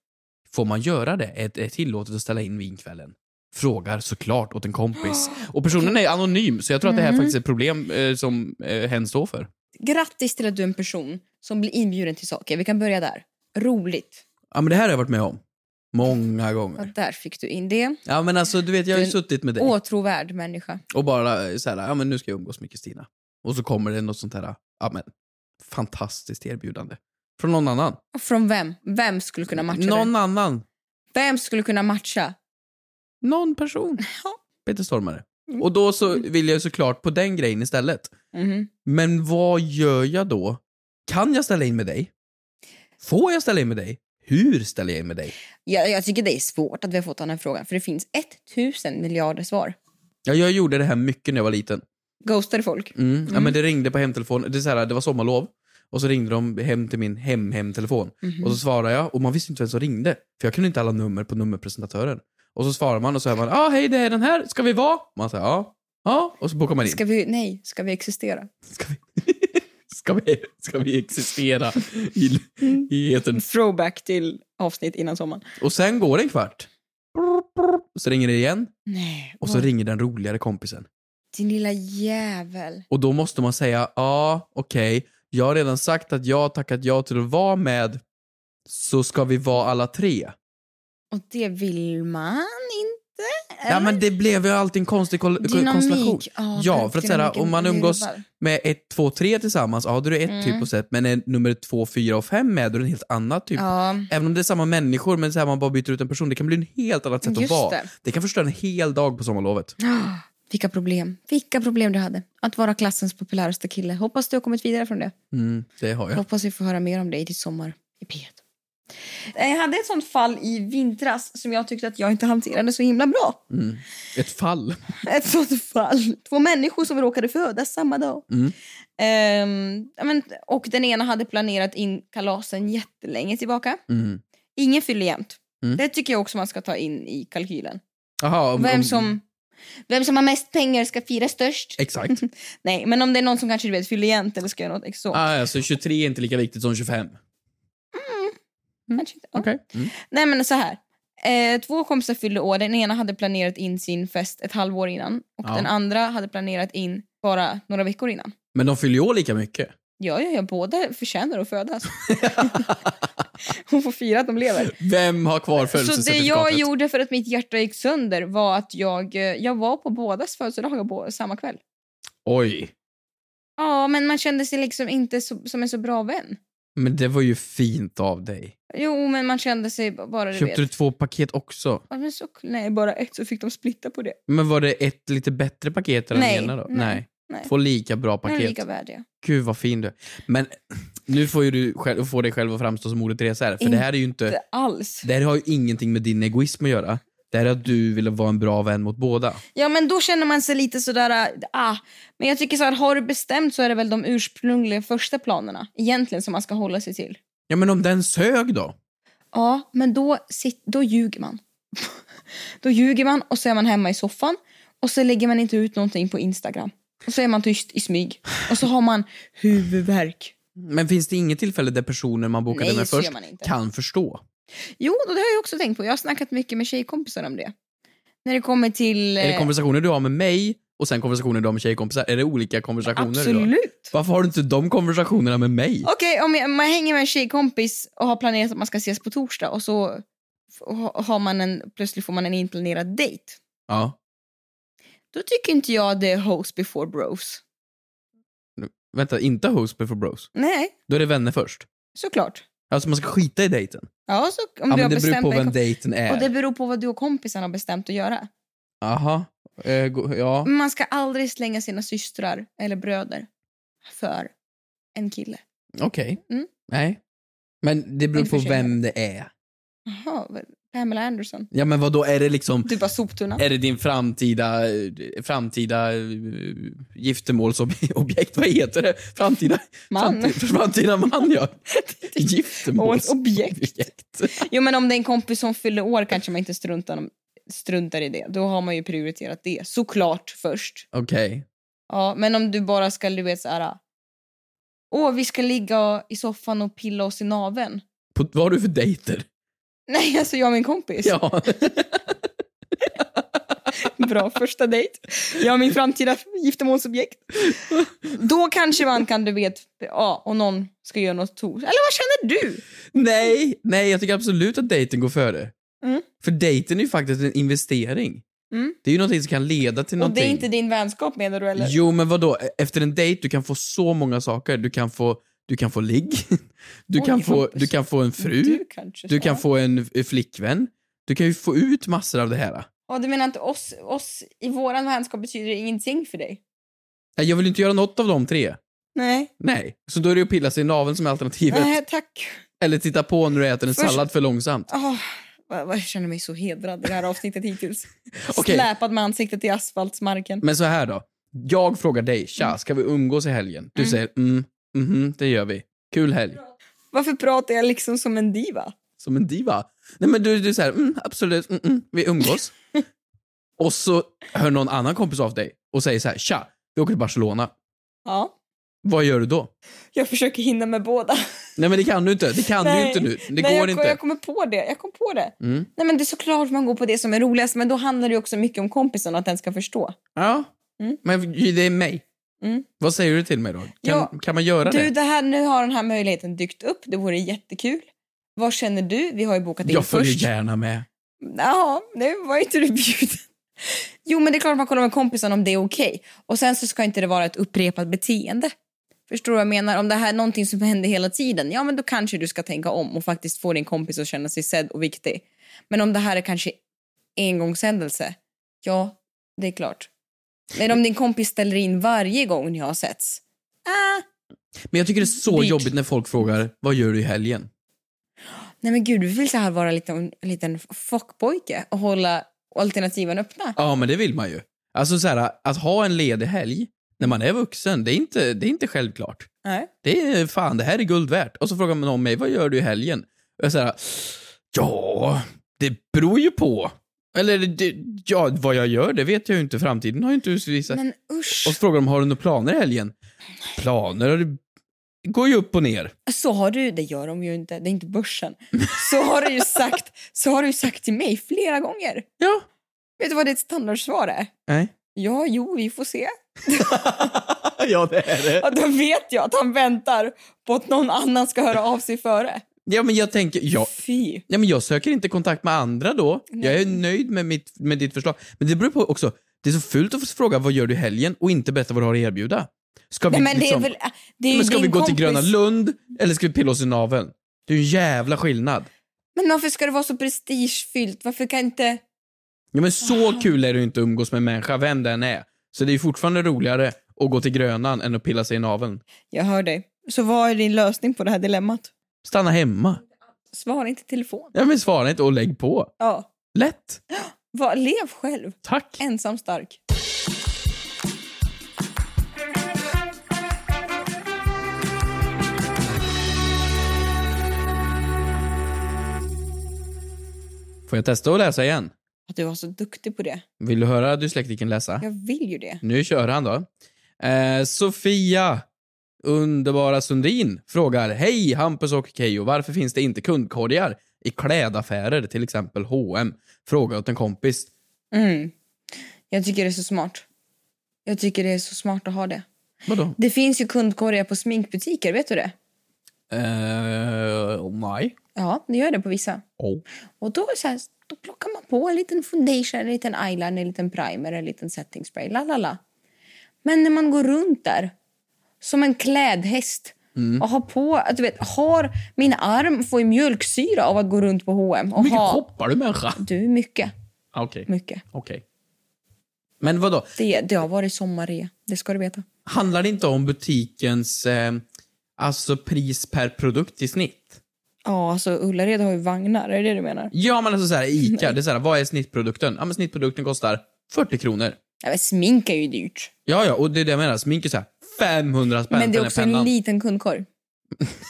Speaker 3: Får man göra det? Är det tillåtet att ställa in vinkvällen? Frågar såklart åt en kompis. Och personen är anonym, så jag tror att det
Speaker 2: Mm.
Speaker 3: här faktiskt är ett problem eh, som eh, hen står för.
Speaker 2: Grattis till att du är en person som blir inbjuden till saker. Vi kan börja där. Roligt.
Speaker 3: Ja, men det här har jag varit med om. Många
Speaker 2: Ja,
Speaker 3: gånger.
Speaker 2: där fick du in det.
Speaker 3: Ja, men alltså du vet, jag har ju
Speaker 2: Du-
Speaker 3: suttit med dig.
Speaker 2: Åtråvärd människa.
Speaker 3: Och bara eh, så här, ja men nu ska jag umgås med Kristina. Och så kommer det något sånt här, ja men fantastiskt erbjudande. Från någon annan.
Speaker 2: Från vem? Vem skulle kunna matcha
Speaker 3: någon
Speaker 2: det?
Speaker 3: annan.
Speaker 2: Vem skulle kunna matcha?
Speaker 3: Någon person. Peter Stormare.
Speaker 2: Mm.
Speaker 3: Och då så vill jag ju såklart på den grejen istället.
Speaker 2: Mhm.
Speaker 3: Men vad gör jag då? Kan jag ställa in med dig? Får jag ställa in med dig? Hur ställer jag in med dig?
Speaker 2: Jag, jag tycker det är svårt att vi har fått den här frågan för det finns 1000 miljarder svar.
Speaker 3: Ja, jag gjorde det här mycket när jag var liten.
Speaker 2: Ghostade folk?
Speaker 3: Mm. Ja, men det ringde på hemtelefonen. Det, är så här, det var sommarlov. Och så ringde de hem till min hem-hem-telefon.
Speaker 2: Mhm.
Speaker 3: Och så svarade jag och man visste inte vem som ringde. För jag kunde inte alla nummer på nummerpresentatören. Och så svarar man och så är man, ah, hej det är den här, ska vi vara? Man säger ja. Ja, och så bokar man in.
Speaker 2: Ska vi, nej, ska vi existera?
Speaker 3: Ska vi, ska vi existera i,
Speaker 2: Mm.
Speaker 3: i etern?
Speaker 2: Throwback till avsnitt innan sommaren.
Speaker 3: Och sen går det en kvart. Och så ringer det igen.
Speaker 2: Nej.
Speaker 3: Och så
Speaker 2: åh,
Speaker 3: ringer den roligare kompisen.
Speaker 2: Din lilla jävel.
Speaker 3: Och då måste man säga, ja, okej, jag har redan sagt att jag har tackat ja till att vara med, så ska vi vara alla tre.
Speaker 2: Och det vill man inte?
Speaker 3: Ja, men det blev ju alltid en konstig kol- ko- konstellation.
Speaker 2: Dynamik. Ja,
Speaker 3: Ja, för att säga,
Speaker 2: dynamiken
Speaker 3: om man umgås typ,
Speaker 2: virvar.
Speaker 3: med ett, två, tre tillsammans, ja då är det ett
Speaker 2: Mm.
Speaker 3: typ och sätt, men är nummer två, fyra och fem med, då är det en helt annat typ.
Speaker 2: Ja,
Speaker 3: Även om det är samma människor, men så här, man bara byter ut en person, det kan bli en helt annat sätt att
Speaker 2: just
Speaker 3: vara.
Speaker 2: det.
Speaker 3: Det kan förstöra en hel dag på sommarlovet.
Speaker 2: Ah, Vilka problem. Vilka problem du hade. Att vara klassens populäraste kille. Hoppas du har kommit vidare från det.
Speaker 3: Mm, det har jag.
Speaker 2: Hoppas vi får höra mer om dig till sommar i P1. Jag hade ett sånt fall i vintras som jag tyckte att jag inte hanterade så himla bra.
Speaker 3: Mm. Ett fall.
Speaker 2: Ett sånt fall. Två människor som råkade födas samma dag.
Speaker 3: Mm.
Speaker 2: Ehm, ja, men, och den ena hade planerat in kalasen jättelänge tillbaka.
Speaker 3: Mm.
Speaker 2: Ingen fyller jämt.
Speaker 3: Mm.
Speaker 2: Det tycker jag också man ska ta in i kalkylen.
Speaker 3: Aha, om,
Speaker 2: Vem
Speaker 3: om-
Speaker 2: som, vem som har mest pengar ska fira störst.
Speaker 3: Exakt.
Speaker 2: Nej, men om det är någon som kanske du vet fyller jämnt eller ska göra något extra.
Speaker 3: Ah, alltså 23 är inte lika viktigt som 25.
Speaker 2: Kanske inte. Ja.
Speaker 3: Okej. Mm.
Speaker 2: Nej, men så här. Eh, två kompisar fyllde år. Den ena hade planerat in sin fest ett halvår innan och
Speaker 3: Ja.
Speaker 2: den andra hade planerat in bara några veckor innan.
Speaker 3: Men de fyller ju år lika mycket.
Speaker 2: Ja, ja, ja, båda förtjänar att födas. Hon får fira att de lever.
Speaker 3: Vem har kvar
Speaker 2: Så det jag
Speaker 3: födelsecertifikatet?
Speaker 2: gjorde för att mitt hjärta gick sönder var att jag, eh, jag var på bådas födelsedagar på samma kväll.
Speaker 3: Oj.
Speaker 2: Ja, men man kände sig liksom inte så, som en så bra vän.
Speaker 3: Men det var ju fint av dig.
Speaker 2: Jo, men man kände sig b- bara... Du vet.
Speaker 3: Köpte du två paket också?
Speaker 2: Ja, men så, nej, bara ett så fick de splitta på det.
Speaker 3: Men var det ett lite bättre paket än
Speaker 2: Nej,
Speaker 3: den ena då?
Speaker 2: nej, nej.
Speaker 3: Två lika bra
Speaker 2: Men
Speaker 3: paket. Eh.
Speaker 2: lika värdiga.
Speaker 3: Gud vad fin du är. Men nu får ju du själv, få dig själv att framstå som ordet Therese här. För det här är ju inte...
Speaker 2: Inte alls.
Speaker 3: Det här har ju ingenting med din egoism att göra. Det här är att du vill vara en bra vän mot båda.
Speaker 2: Ja, men då känner man sig lite sådär... äh, Ah. Men jag tycker så här, har du bestämt så är det väl de ursprungliga första planerna egentligen som man ska hålla sig till.
Speaker 3: Ja men om den sög då?
Speaker 2: Ja, men då, sit, då ljuger man. då ljuger man och så är man hemma i soffan och så lägger man inte ut någonting på Instagram. Och så är man tyst i smyg och så har man huvudvärk.
Speaker 3: Men finns det inget tillfälle där personen man bokade
Speaker 2: Nej,
Speaker 3: med
Speaker 2: så gör
Speaker 3: först
Speaker 2: man inte.
Speaker 3: kan förstå?
Speaker 2: Jo, och det har jag också tänkt på. Jag har snackat mycket med tjejkompisar om det. När det kommer till...
Speaker 3: Är det
Speaker 2: eh,
Speaker 3: konversationer du har med mig och sen konversationer du har med tjejkompisar? Är det olika konversationer du har?
Speaker 2: Absolut.
Speaker 3: Varför har du inte de konversationerna med mig?
Speaker 2: Okej, om jag, man hänger med en tjejkompis och har planerat att man ska ses på torsdag och så f- ha- har man en, plötsligt får man en inplanerad dejt.
Speaker 3: Ja.
Speaker 2: Då tycker inte jag det är host before bros.
Speaker 3: Vänta, inte host before bros.
Speaker 2: Nej,
Speaker 3: Då är det vänner först.
Speaker 2: såklart.
Speaker 3: Alltså man ska skita i dejten.
Speaker 2: Ja, så, om
Speaker 3: ja,
Speaker 2: du har
Speaker 3: men det beror
Speaker 2: bestämt
Speaker 3: på
Speaker 2: dig-
Speaker 3: vem dejten
Speaker 2: Och
Speaker 3: är.
Speaker 2: det beror på vad du och kompisen har bestämt att göra.
Speaker 3: Aha. Eh, go- ja.
Speaker 2: Men Man ska aldrig slänga sina systrar eller bröder för en kille.
Speaker 3: Okej.
Speaker 2: Mm.
Speaker 3: Nej. Men det beror
Speaker 2: Men
Speaker 3: på
Speaker 2: försvinner.
Speaker 3: vem det är.
Speaker 2: Jaha, vad- Pamela Anderson.
Speaker 3: Ja men vad då är det liksom...
Speaker 2: Du bara soptunna.
Speaker 3: Är det din framtida, eh, framtida eh, giftermålsobjekt? Vad heter det? Framtida
Speaker 2: Man.
Speaker 3: Framtida, framtida man, ja.
Speaker 2: Målsobjekt.
Speaker 3: Giftermålsobjekt.
Speaker 2: Jo, men om det är en kompis som fyller år kanske man inte struntar, struntar i det. Då har man ju prioriterat det, såklart först.
Speaker 3: Okej.
Speaker 2: Ja, men om du bara ska, du vet såhär... Åh, vi ska ligga i soffan och pilla oss i naveln.
Speaker 3: På, vad har du för dejter?
Speaker 2: Nej, alltså jag och min kompis.
Speaker 3: Ja.
Speaker 2: Bra första dejt. Jag och min framtida giftermålsobjekt. Då kanske man kan, du vet, ja, och någon ska göra något tokigt. Eller vad känner du?
Speaker 3: nej, nej, jag tycker absolut att dejten går före.
Speaker 2: Mm.
Speaker 3: För dejten är ju faktiskt en investering.
Speaker 2: Mm.
Speaker 3: Det är ju någonting som kan leda
Speaker 2: Och det
Speaker 3: till någonting.
Speaker 2: är inte din vänskap menar du eller?
Speaker 3: Jo, men vad då? Efter en dejt, du kan få så många saker. Du kan få, du kan få ligg. Du,
Speaker 2: Oj,
Speaker 3: kan få,
Speaker 2: Hampus.
Speaker 3: du kan få en fru.
Speaker 2: kanske
Speaker 3: Du kan
Speaker 2: sa.
Speaker 3: få en f- flickvän. Du kan ju få ut massor av det här.
Speaker 2: Och du menar att oss, oss i våran vänskap betyder ingenting för dig?
Speaker 3: Nej, Jag vill inte göra något av de tre.
Speaker 2: Nej.
Speaker 3: Nej. Så då är det ju att pilla sig i naveln som är alternativet.
Speaker 2: Nej, tack.
Speaker 3: Eller titta på när du äter en
Speaker 2: Först-
Speaker 3: sallad för långsamt.
Speaker 2: Åh, vad- vad- jag känner mig så hedrad i det här avsnittet hittills.
Speaker 3: Okej.
Speaker 2: Släpad med ansiktet i asfaltsmarken.
Speaker 3: Men så här då. Jag frågar dig, tja, ska vi umgås i helgen? Du
Speaker 2: Mm.
Speaker 3: säger mm, mhm, det gör vi. Kul helg.
Speaker 2: Varför pratar jag liksom som en diva?
Speaker 3: Som en diva. Nej men du, du säger mm, absolut, mm, mm, vi umgås. och så hör någon annan kompis av dig och säger så här, tja, vi åker till Barcelona.
Speaker 2: Ja,
Speaker 3: Vad gör du då?
Speaker 2: jag försöker hinna med båda.
Speaker 3: Nej men det kan du inte, det kan du
Speaker 2: Nej.
Speaker 3: ju inte nu. Det
Speaker 2: Nej,
Speaker 3: går
Speaker 2: jag,
Speaker 3: inte.
Speaker 2: Jag kommer på det. Jag kom på det.
Speaker 3: Mm.
Speaker 2: Nej, men det är såklart man går på det som är roligast, men då handlar det ju också mycket om kompisen och att den ska förstå.
Speaker 3: Ja,
Speaker 2: Mm.
Speaker 3: men det är mig.
Speaker 2: Mm.
Speaker 3: Vad säger du till mig då? Kan,
Speaker 2: Ja,
Speaker 3: kan man göra
Speaker 2: Du,
Speaker 3: det?
Speaker 2: det här, nu har den här möjligheten dykt upp. Det vore jättekul. Vad känner du? Vi har ju bokat in
Speaker 3: Jag följer
Speaker 2: först.
Speaker 3: gärna med.
Speaker 2: Ja, nu var inte du bjuden. Jo, men det är klart man kollar med kompisen om det är okej. Och sen så ska inte det vara ett upprepat beteende. Förstår du vad jag menar? Om det här är någonting som händer hela tiden, ja men då kanske du ska tänka om och faktiskt få din kompis att känna sig sedd och viktig. Men om det här är kanske engångshändelse, ja, det är klart. Men om din kompis ställer in varje gång ni har setts, ah,
Speaker 3: Men jag tycker det är så
Speaker 2: Dyrt.
Speaker 3: jobbigt när folk frågar vad gör du i helgen?
Speaker 2: nej men gud, du vill så här vara lite, en liten fuckpojke och hålla alternativen öppna.
Speaker 3: Ja, men det vill man ju. Alltså så här, att ha en ledig helg när man är vuxen, det är inte, det är inte självklart.
Speaker 2: Nej.
Speaker 3: Det är fan, det här är guld värt. Och så frågar man om mig, vad gör du i helgen? Och jag säger, ja, det beror ju på. Eller, det, ja, vad jag gör, det vet jag ju inte. Framtiden har ju inte utvisat.
Speaker 2: Men usch.
Speaker 3: Och så frågar de, har du några planer i helgen? Planer? Det går ju upp och ner.
Speaker 2: så har du, det gör de ju inte, det är inte börsen, så har du ju sagt, så har du ju sagt till mig flera gånger.
Speaker 3: Ja.
Speaker 2: Vet du vad ditt standardsvar är?
Speaker 3: Nej.
Speaker 2: Ja, jo, vi får se.
Speaker 3: ja, det är det.
Speaker 2: Ja, då vet jag att han väntar på att någon annan ska höra av sig före.
Speaker 3: Ja, men jag tänker, ja,
Speaker 2: Fy.
Speaker 3: ja, men jag söker inte kontakt med andra då. Jag är nöjd med, mitt, med ditt förslag. Men det beror på också, det är så fult att få fråga vad gör du i helgen och inte berätta vad du har att erbjuda. Ska vi,
Speaker 2: Nej, men det är
Speaker 3: liksom,
Speaker 2: väl... äh, Det är ju
Speaker 3: men ska
Speaker 2: din
Speaker 3: vi gå till
Speaker 2: kompis.
Speaker 3: Gröna Lund eller ska vi pilla oss i naveln? Det är ju en jävla skillnad.
Speaker 2: Men varför ska det vara så prestigefyllt? Varför kan inte...
Speaker 3: Ja, men så kul är det ju inte att umgås med en människa, vem den är. Så det är ju fortfarande roligare att gå till Grönan än att pilla sig i naveln.
Speaker 2: Jag hör dig. Så vad är din lösning på det här dilemmat?
Speaker 3: Stanna hemma.
Speaker 2: Svara inte i telefon.
Speaker 3: Ja, men svara inte och lägg på.
Speaker 2: Ja.
Speaker 3: Lätt.
Speaker 2: Var, lev själv.
Speaker 3: Tack.
Speaker 2: Ensam stark.
Speaker 3: Får jag testa att läsa igen?
Speaker 2: Att du var så duktig på det.
Speaker 3: Vill du höra dyslektikern läsa?
Speaker 2: Jag vill ju det.
Speaker 3: Nu kör han då. Eh, Sofia, underbara Sundin, frågar Hej Hampus och Keyyo, varför finns det inte kundkorgar i klädaffärer, till exempel H&M? Fråga åt en kompis.
Speaker 2: Mm. Jag tycker det är så smart. Jag tycker det är så smart att ha det.
Speaker 3: Vadå?
Speaker 2: Det finns ju kundkorgar på sminkbutiker, vet du det?
Speaker 3: Eh, nej.
Speaker 2: Ja, det gör det på vissa.
Speaker 3: Oh.
Speaker 2: Och då, är det så här, då plockar man på en liten foundation, en liten eyeliner, en liten primer, en liten setting spray, la la la. Men när man går runt där som en klädhäst och har på, att du vet, har min arm får ju mjölksyra av att gå runt på H&M och
Speaker 3: Hur mycket
Speaker 2: ha
Speaker 3: shoppar du människa?
Speaker 2: du mycket,
Speaker 3: Ah, Okej.
Speaker 2: mycket.
Speaker 3: Okej. Men vadå?
Speaker 2: Det, det har varit sommar det ska du veta.
Speaker 3: Handlar det inte om butikens eh, alltså pris per produkt i snitt?
Speaker 2: Ja, alltså Ullared har ju vagnar, är det det du menar?
Speaker 3: Ja, men alltså så här, Ica, det är så här, vad är snittprodukten? Ja, men snittprodukten kostar 40 kronor.
Speaker 2: Nej, men smink är ju dyrt.
Speaker 3: Ja, ja, och det är det jag menar. Smink är så här 500 spänn
Speaker 2: men det
Speaker 3: för
Speaker 2: är
Speaker 3: den här
Speaker 2: också
Speaker 3: pennan.
Speaker 2: en liten kundkorg.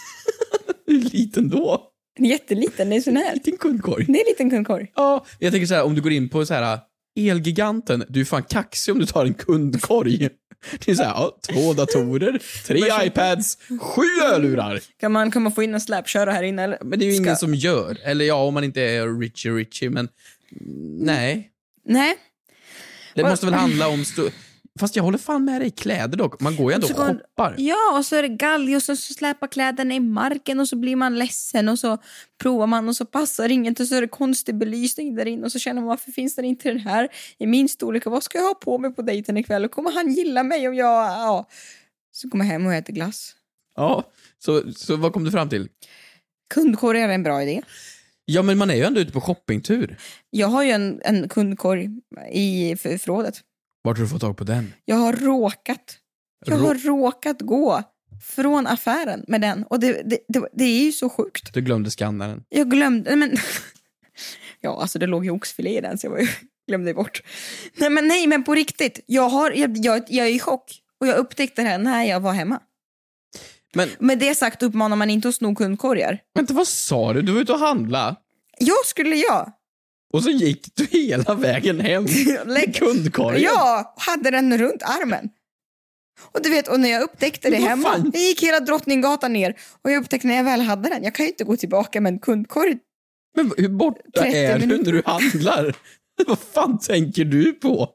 Speaker 3: Hur liten då?
Speaker 2: En jätteliten, det är sån här.
Speaker 3: Liten kundkorg.
Speaker 2: Det är en liten kundkorg.
Speaker 3: Ja, jag tänker så här, om du går in på så här äh, Elgiganten, du är fan kaxig om du tar en kundkorg. Det är så här, ja, två datorer, tre iPads, sju hörlurar.
Speaker 2: Kan man, kan man få in en släpköra här inne? Eller?
Speaker 3: Men det är ju
Speaker 2: Ska-
Speaker 3: ingen som gör. Eller ja, om man inte är Richie Richie, men mm, nej.
Speaker 2: Nej.
Speaker 3: Det
Speaker 2: Vad-
Speaker 3: måste väl handla om... Stu- Fast jag håller fan med dig, kläder dock. Man går ju ändå och
Speaker 2: Så Alltså, går-
Speaker 3: shoppar.
Speaker 2: Ja, och så är det galg och så, så släpar kläderna i marken och så blir man ledsen och så provar man och så passar inget och så är det konstig belysning där inne och så känner man varför finns den inte den här i min storlek och vad ska jag ha på mig på dejten ikväll och kommer han gilla mig om jag... Ja. Så kommer jag hem och äter glass.
Speaker 3: Ja, så, så vad kom du fram till?
Speaker 2: Kundkorgar är en bra idé.
Speaker 3: Ja men man är ju ändå ute på shoppingtur.
Speaker 2: Jag har ju en, en kundkorg i för- förrådet.
Speaker 3: Vart har du fått tag på den?
Speaker 2: Jag har råkat. Jag
Speaker 3: Rå-
Speaker 2: har råkat gå från affären med den. Och det, det, det, det är ju så sjukt.
Speaker 3: Du glömde skannaren.
Speaker 2: Jag glömde, nej men... ja, alltså det låg ju oxfilé i den så jag var ju, glömde bort. Nej men, nej, men på riktigt. Jag, har, jag, jag, jag är i chock. Och jag upptäckte det här när jag var hemma.
Speaker 3: Men
Speaker 2: Med det sagt uppmanar man inte att sno kundkorgar.
Speaker 3: vänta, vad sa du? Du var ute och handla
Speaker 2: Jag skulle jag.
Speaker 3: och så gick du hela vägen hem
Speaker 2: Lägg-
Speaker 3: med kundkorgen.
Speaker 2: Ja, hade den runt armen. Och du vet, och när jag upptäckte det
Speaker 3: Men vad
Speaker 2: hemma,
Speaker 3: fan?
Speaker 2: jag gick hela Drottninggatan ner och jag upptäckte när jag väl hade den, jag kan ju inte gå tillbaka med en kundkorg.
Speaker 3: Men hur borta
Speaker 2: 30
Speaker 3: är du
Speaker 2: minuter.
Speaker 3: när du handlar? vad fan tänker du på?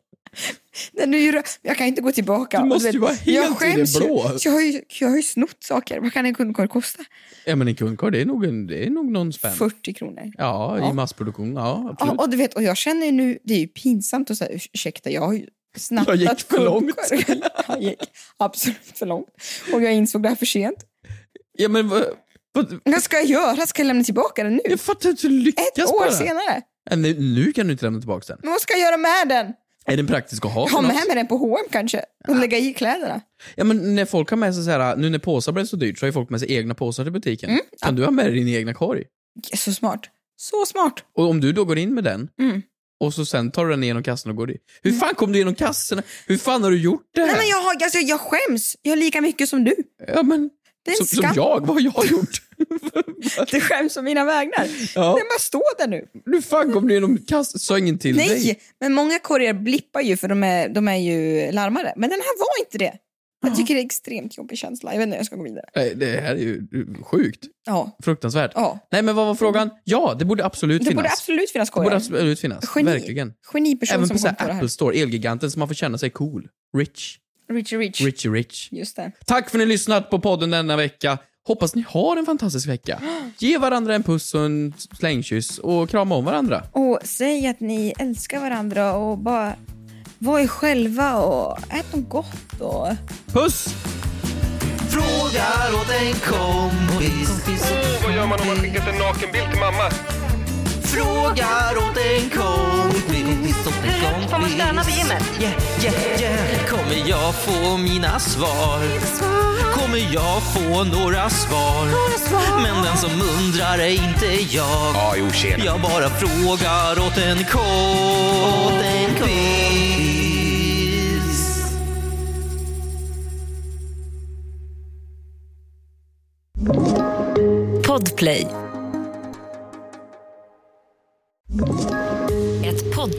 Speaker 2: Den är ju, rö- jag kan ju inte gå tillbaka.
Speaker 3: Du
Speaker 2: Och
Speaker 3: måste
Speaker 2: vet,
Speaker 3: ju vara helt
Speaker 2: jag
Speaker 3: i det
Speaker 2: skäms ju.
Speaker 3: blå.
Speaker 2: Så Jag har, ju, jag har ju snott saker. Vad kan en kundkorg kosta?
Speaker 3: Ja men en kundkorg, det är nog, en, det är nog någon spänn.
Speaker 2: 40 kronor.
Speaker 3: Ja,
Speaker 2: Ja.
Speaker 3: i massproduktion. Ja, absolut.
Speaker 2: Ja, och, du vet, och jag känner ju nu, det är ju pinsamt att säga ursäkta, jag har ju snattat
Speaker 3: Jag gick för långt.
Speaker 2: kundkorg. jag gick absolut för långt. Och jag insåg det här för sent.
Speaker 3: Ja, men vad, vad,
Speaker 2: Vad ska jag göra? Ska jag lämna tillbaka den nu?
Speaker 3: jag fattar inte hur du lyckas
Speaker 2: Ett år
Speaker 3: bara.
Speaker 2: senare.
Speaker 3: Ja, nu, nu kan du inte lämna tillbaka den.
Speaker 2: Men vad ska jag göra med den?
Speaker 3: Är den praktisk att ha? för
Speaker 2: Ha med
Speaker 3: något?
Speaker 2: mig den på H&M kanske? Och lägga i kläderna?
Speaker 3: Ja, men när folk har med sig så här, nu när påsar blev så dyrt så har ju folk med sig egna påsar till butiken.
Speaker 2: Mm,
Speaker 3: Kan du ha med dig din egna korg?
Speaker 2: Så smart. Så smart.
Speaker 3: Och om du då går in med den
Speaker 2: Mm.
Speaker 3: och så sen tar du den igenom kassan och går in. Hur fan kom du igenom kassorna? Hur fan har du gjort det här?
Speaker 2: Nej men jag, har, alltså, jag skäms. Jag har lika mycket som du.
Speaker 3: Ja, men,
Speaker 2: Det är en
Speaker 3: som, som
Speaker 2: skam.
Speaker 3: jag, vad har jag gjort?
Speaker 2: Det skäms om mina vägnar.
Speaker 3: Ja.
Speaker 2: Den bara står där nu.
Speaker 3: Hur fan kom du igenom kassan? Sa ingen till
Speaker 2: Nej,
Speaker 3: dig?
Speaker 2: men många korgar blippar ju för de är, de är ju larmade. Men den här var inte det. Jag tycker det är extremt jobbig känsla. Jag vet inte, jag ska gå vidare.
Speaker 3: Nej, det här är ju sjukt.
Speaker 2: Ja,
Speaker 3: Fruktansvärt.
Speaker 2: ja.
Speaker 3: Nej, men vad var frågan? Ja, det borde absolut
Speaker 2: Det
Speaker 3: finnas.
Speaker 2: borde absolut finnas
Speaker 3: Det borde
Speaker 2: korgar.
Speaker 3: absolut finnas.
Speaker 2: Geni.
Speaker 3: Verkligen.
Speaker 2: Geniperson
Speaker 3: Även
Speaker 2: som
Speaker 3: på så
Speaker 2: kom
Speaker 3: här
Speaker 2: på det
Speaker 3: Apple
Speaker 2: här.
Speaker 3: Store, Elgiganten, så man får känna sig cool. Rich.
Speaker 2: Richie Rich.
Speaker 3: Richie rich.
Speaker 2: Just det.
Speaker 3: Tack för att ni har lyssnat på podden denna vecka. Hoppas ni har en fantastisk vecka. Ge varandra en puss och en slängkyss och krama om varandra.
Speaker 2: Och säg att ni älskar varandra och bara var er själva och ät något gott. Och...
Speaker 3: Puss!
Speaker 4: Frågar åt en kompis.
Speaker 9: Åh, vad gör man om man skickat en nakenbild till mamma?
Speaker 4: Frågar åt en kompis. Får man stöna vid gymmet? Yeah, yeah, yeah. Kommer jag få mina svar? Kommer jag få några svar? Men den som undrar är inte jag.
Speaker 9: Ja, jo, tjena.
Speaker 4: Jag bara frågar åt en kompis.
Speaker 6: Podplay. Ett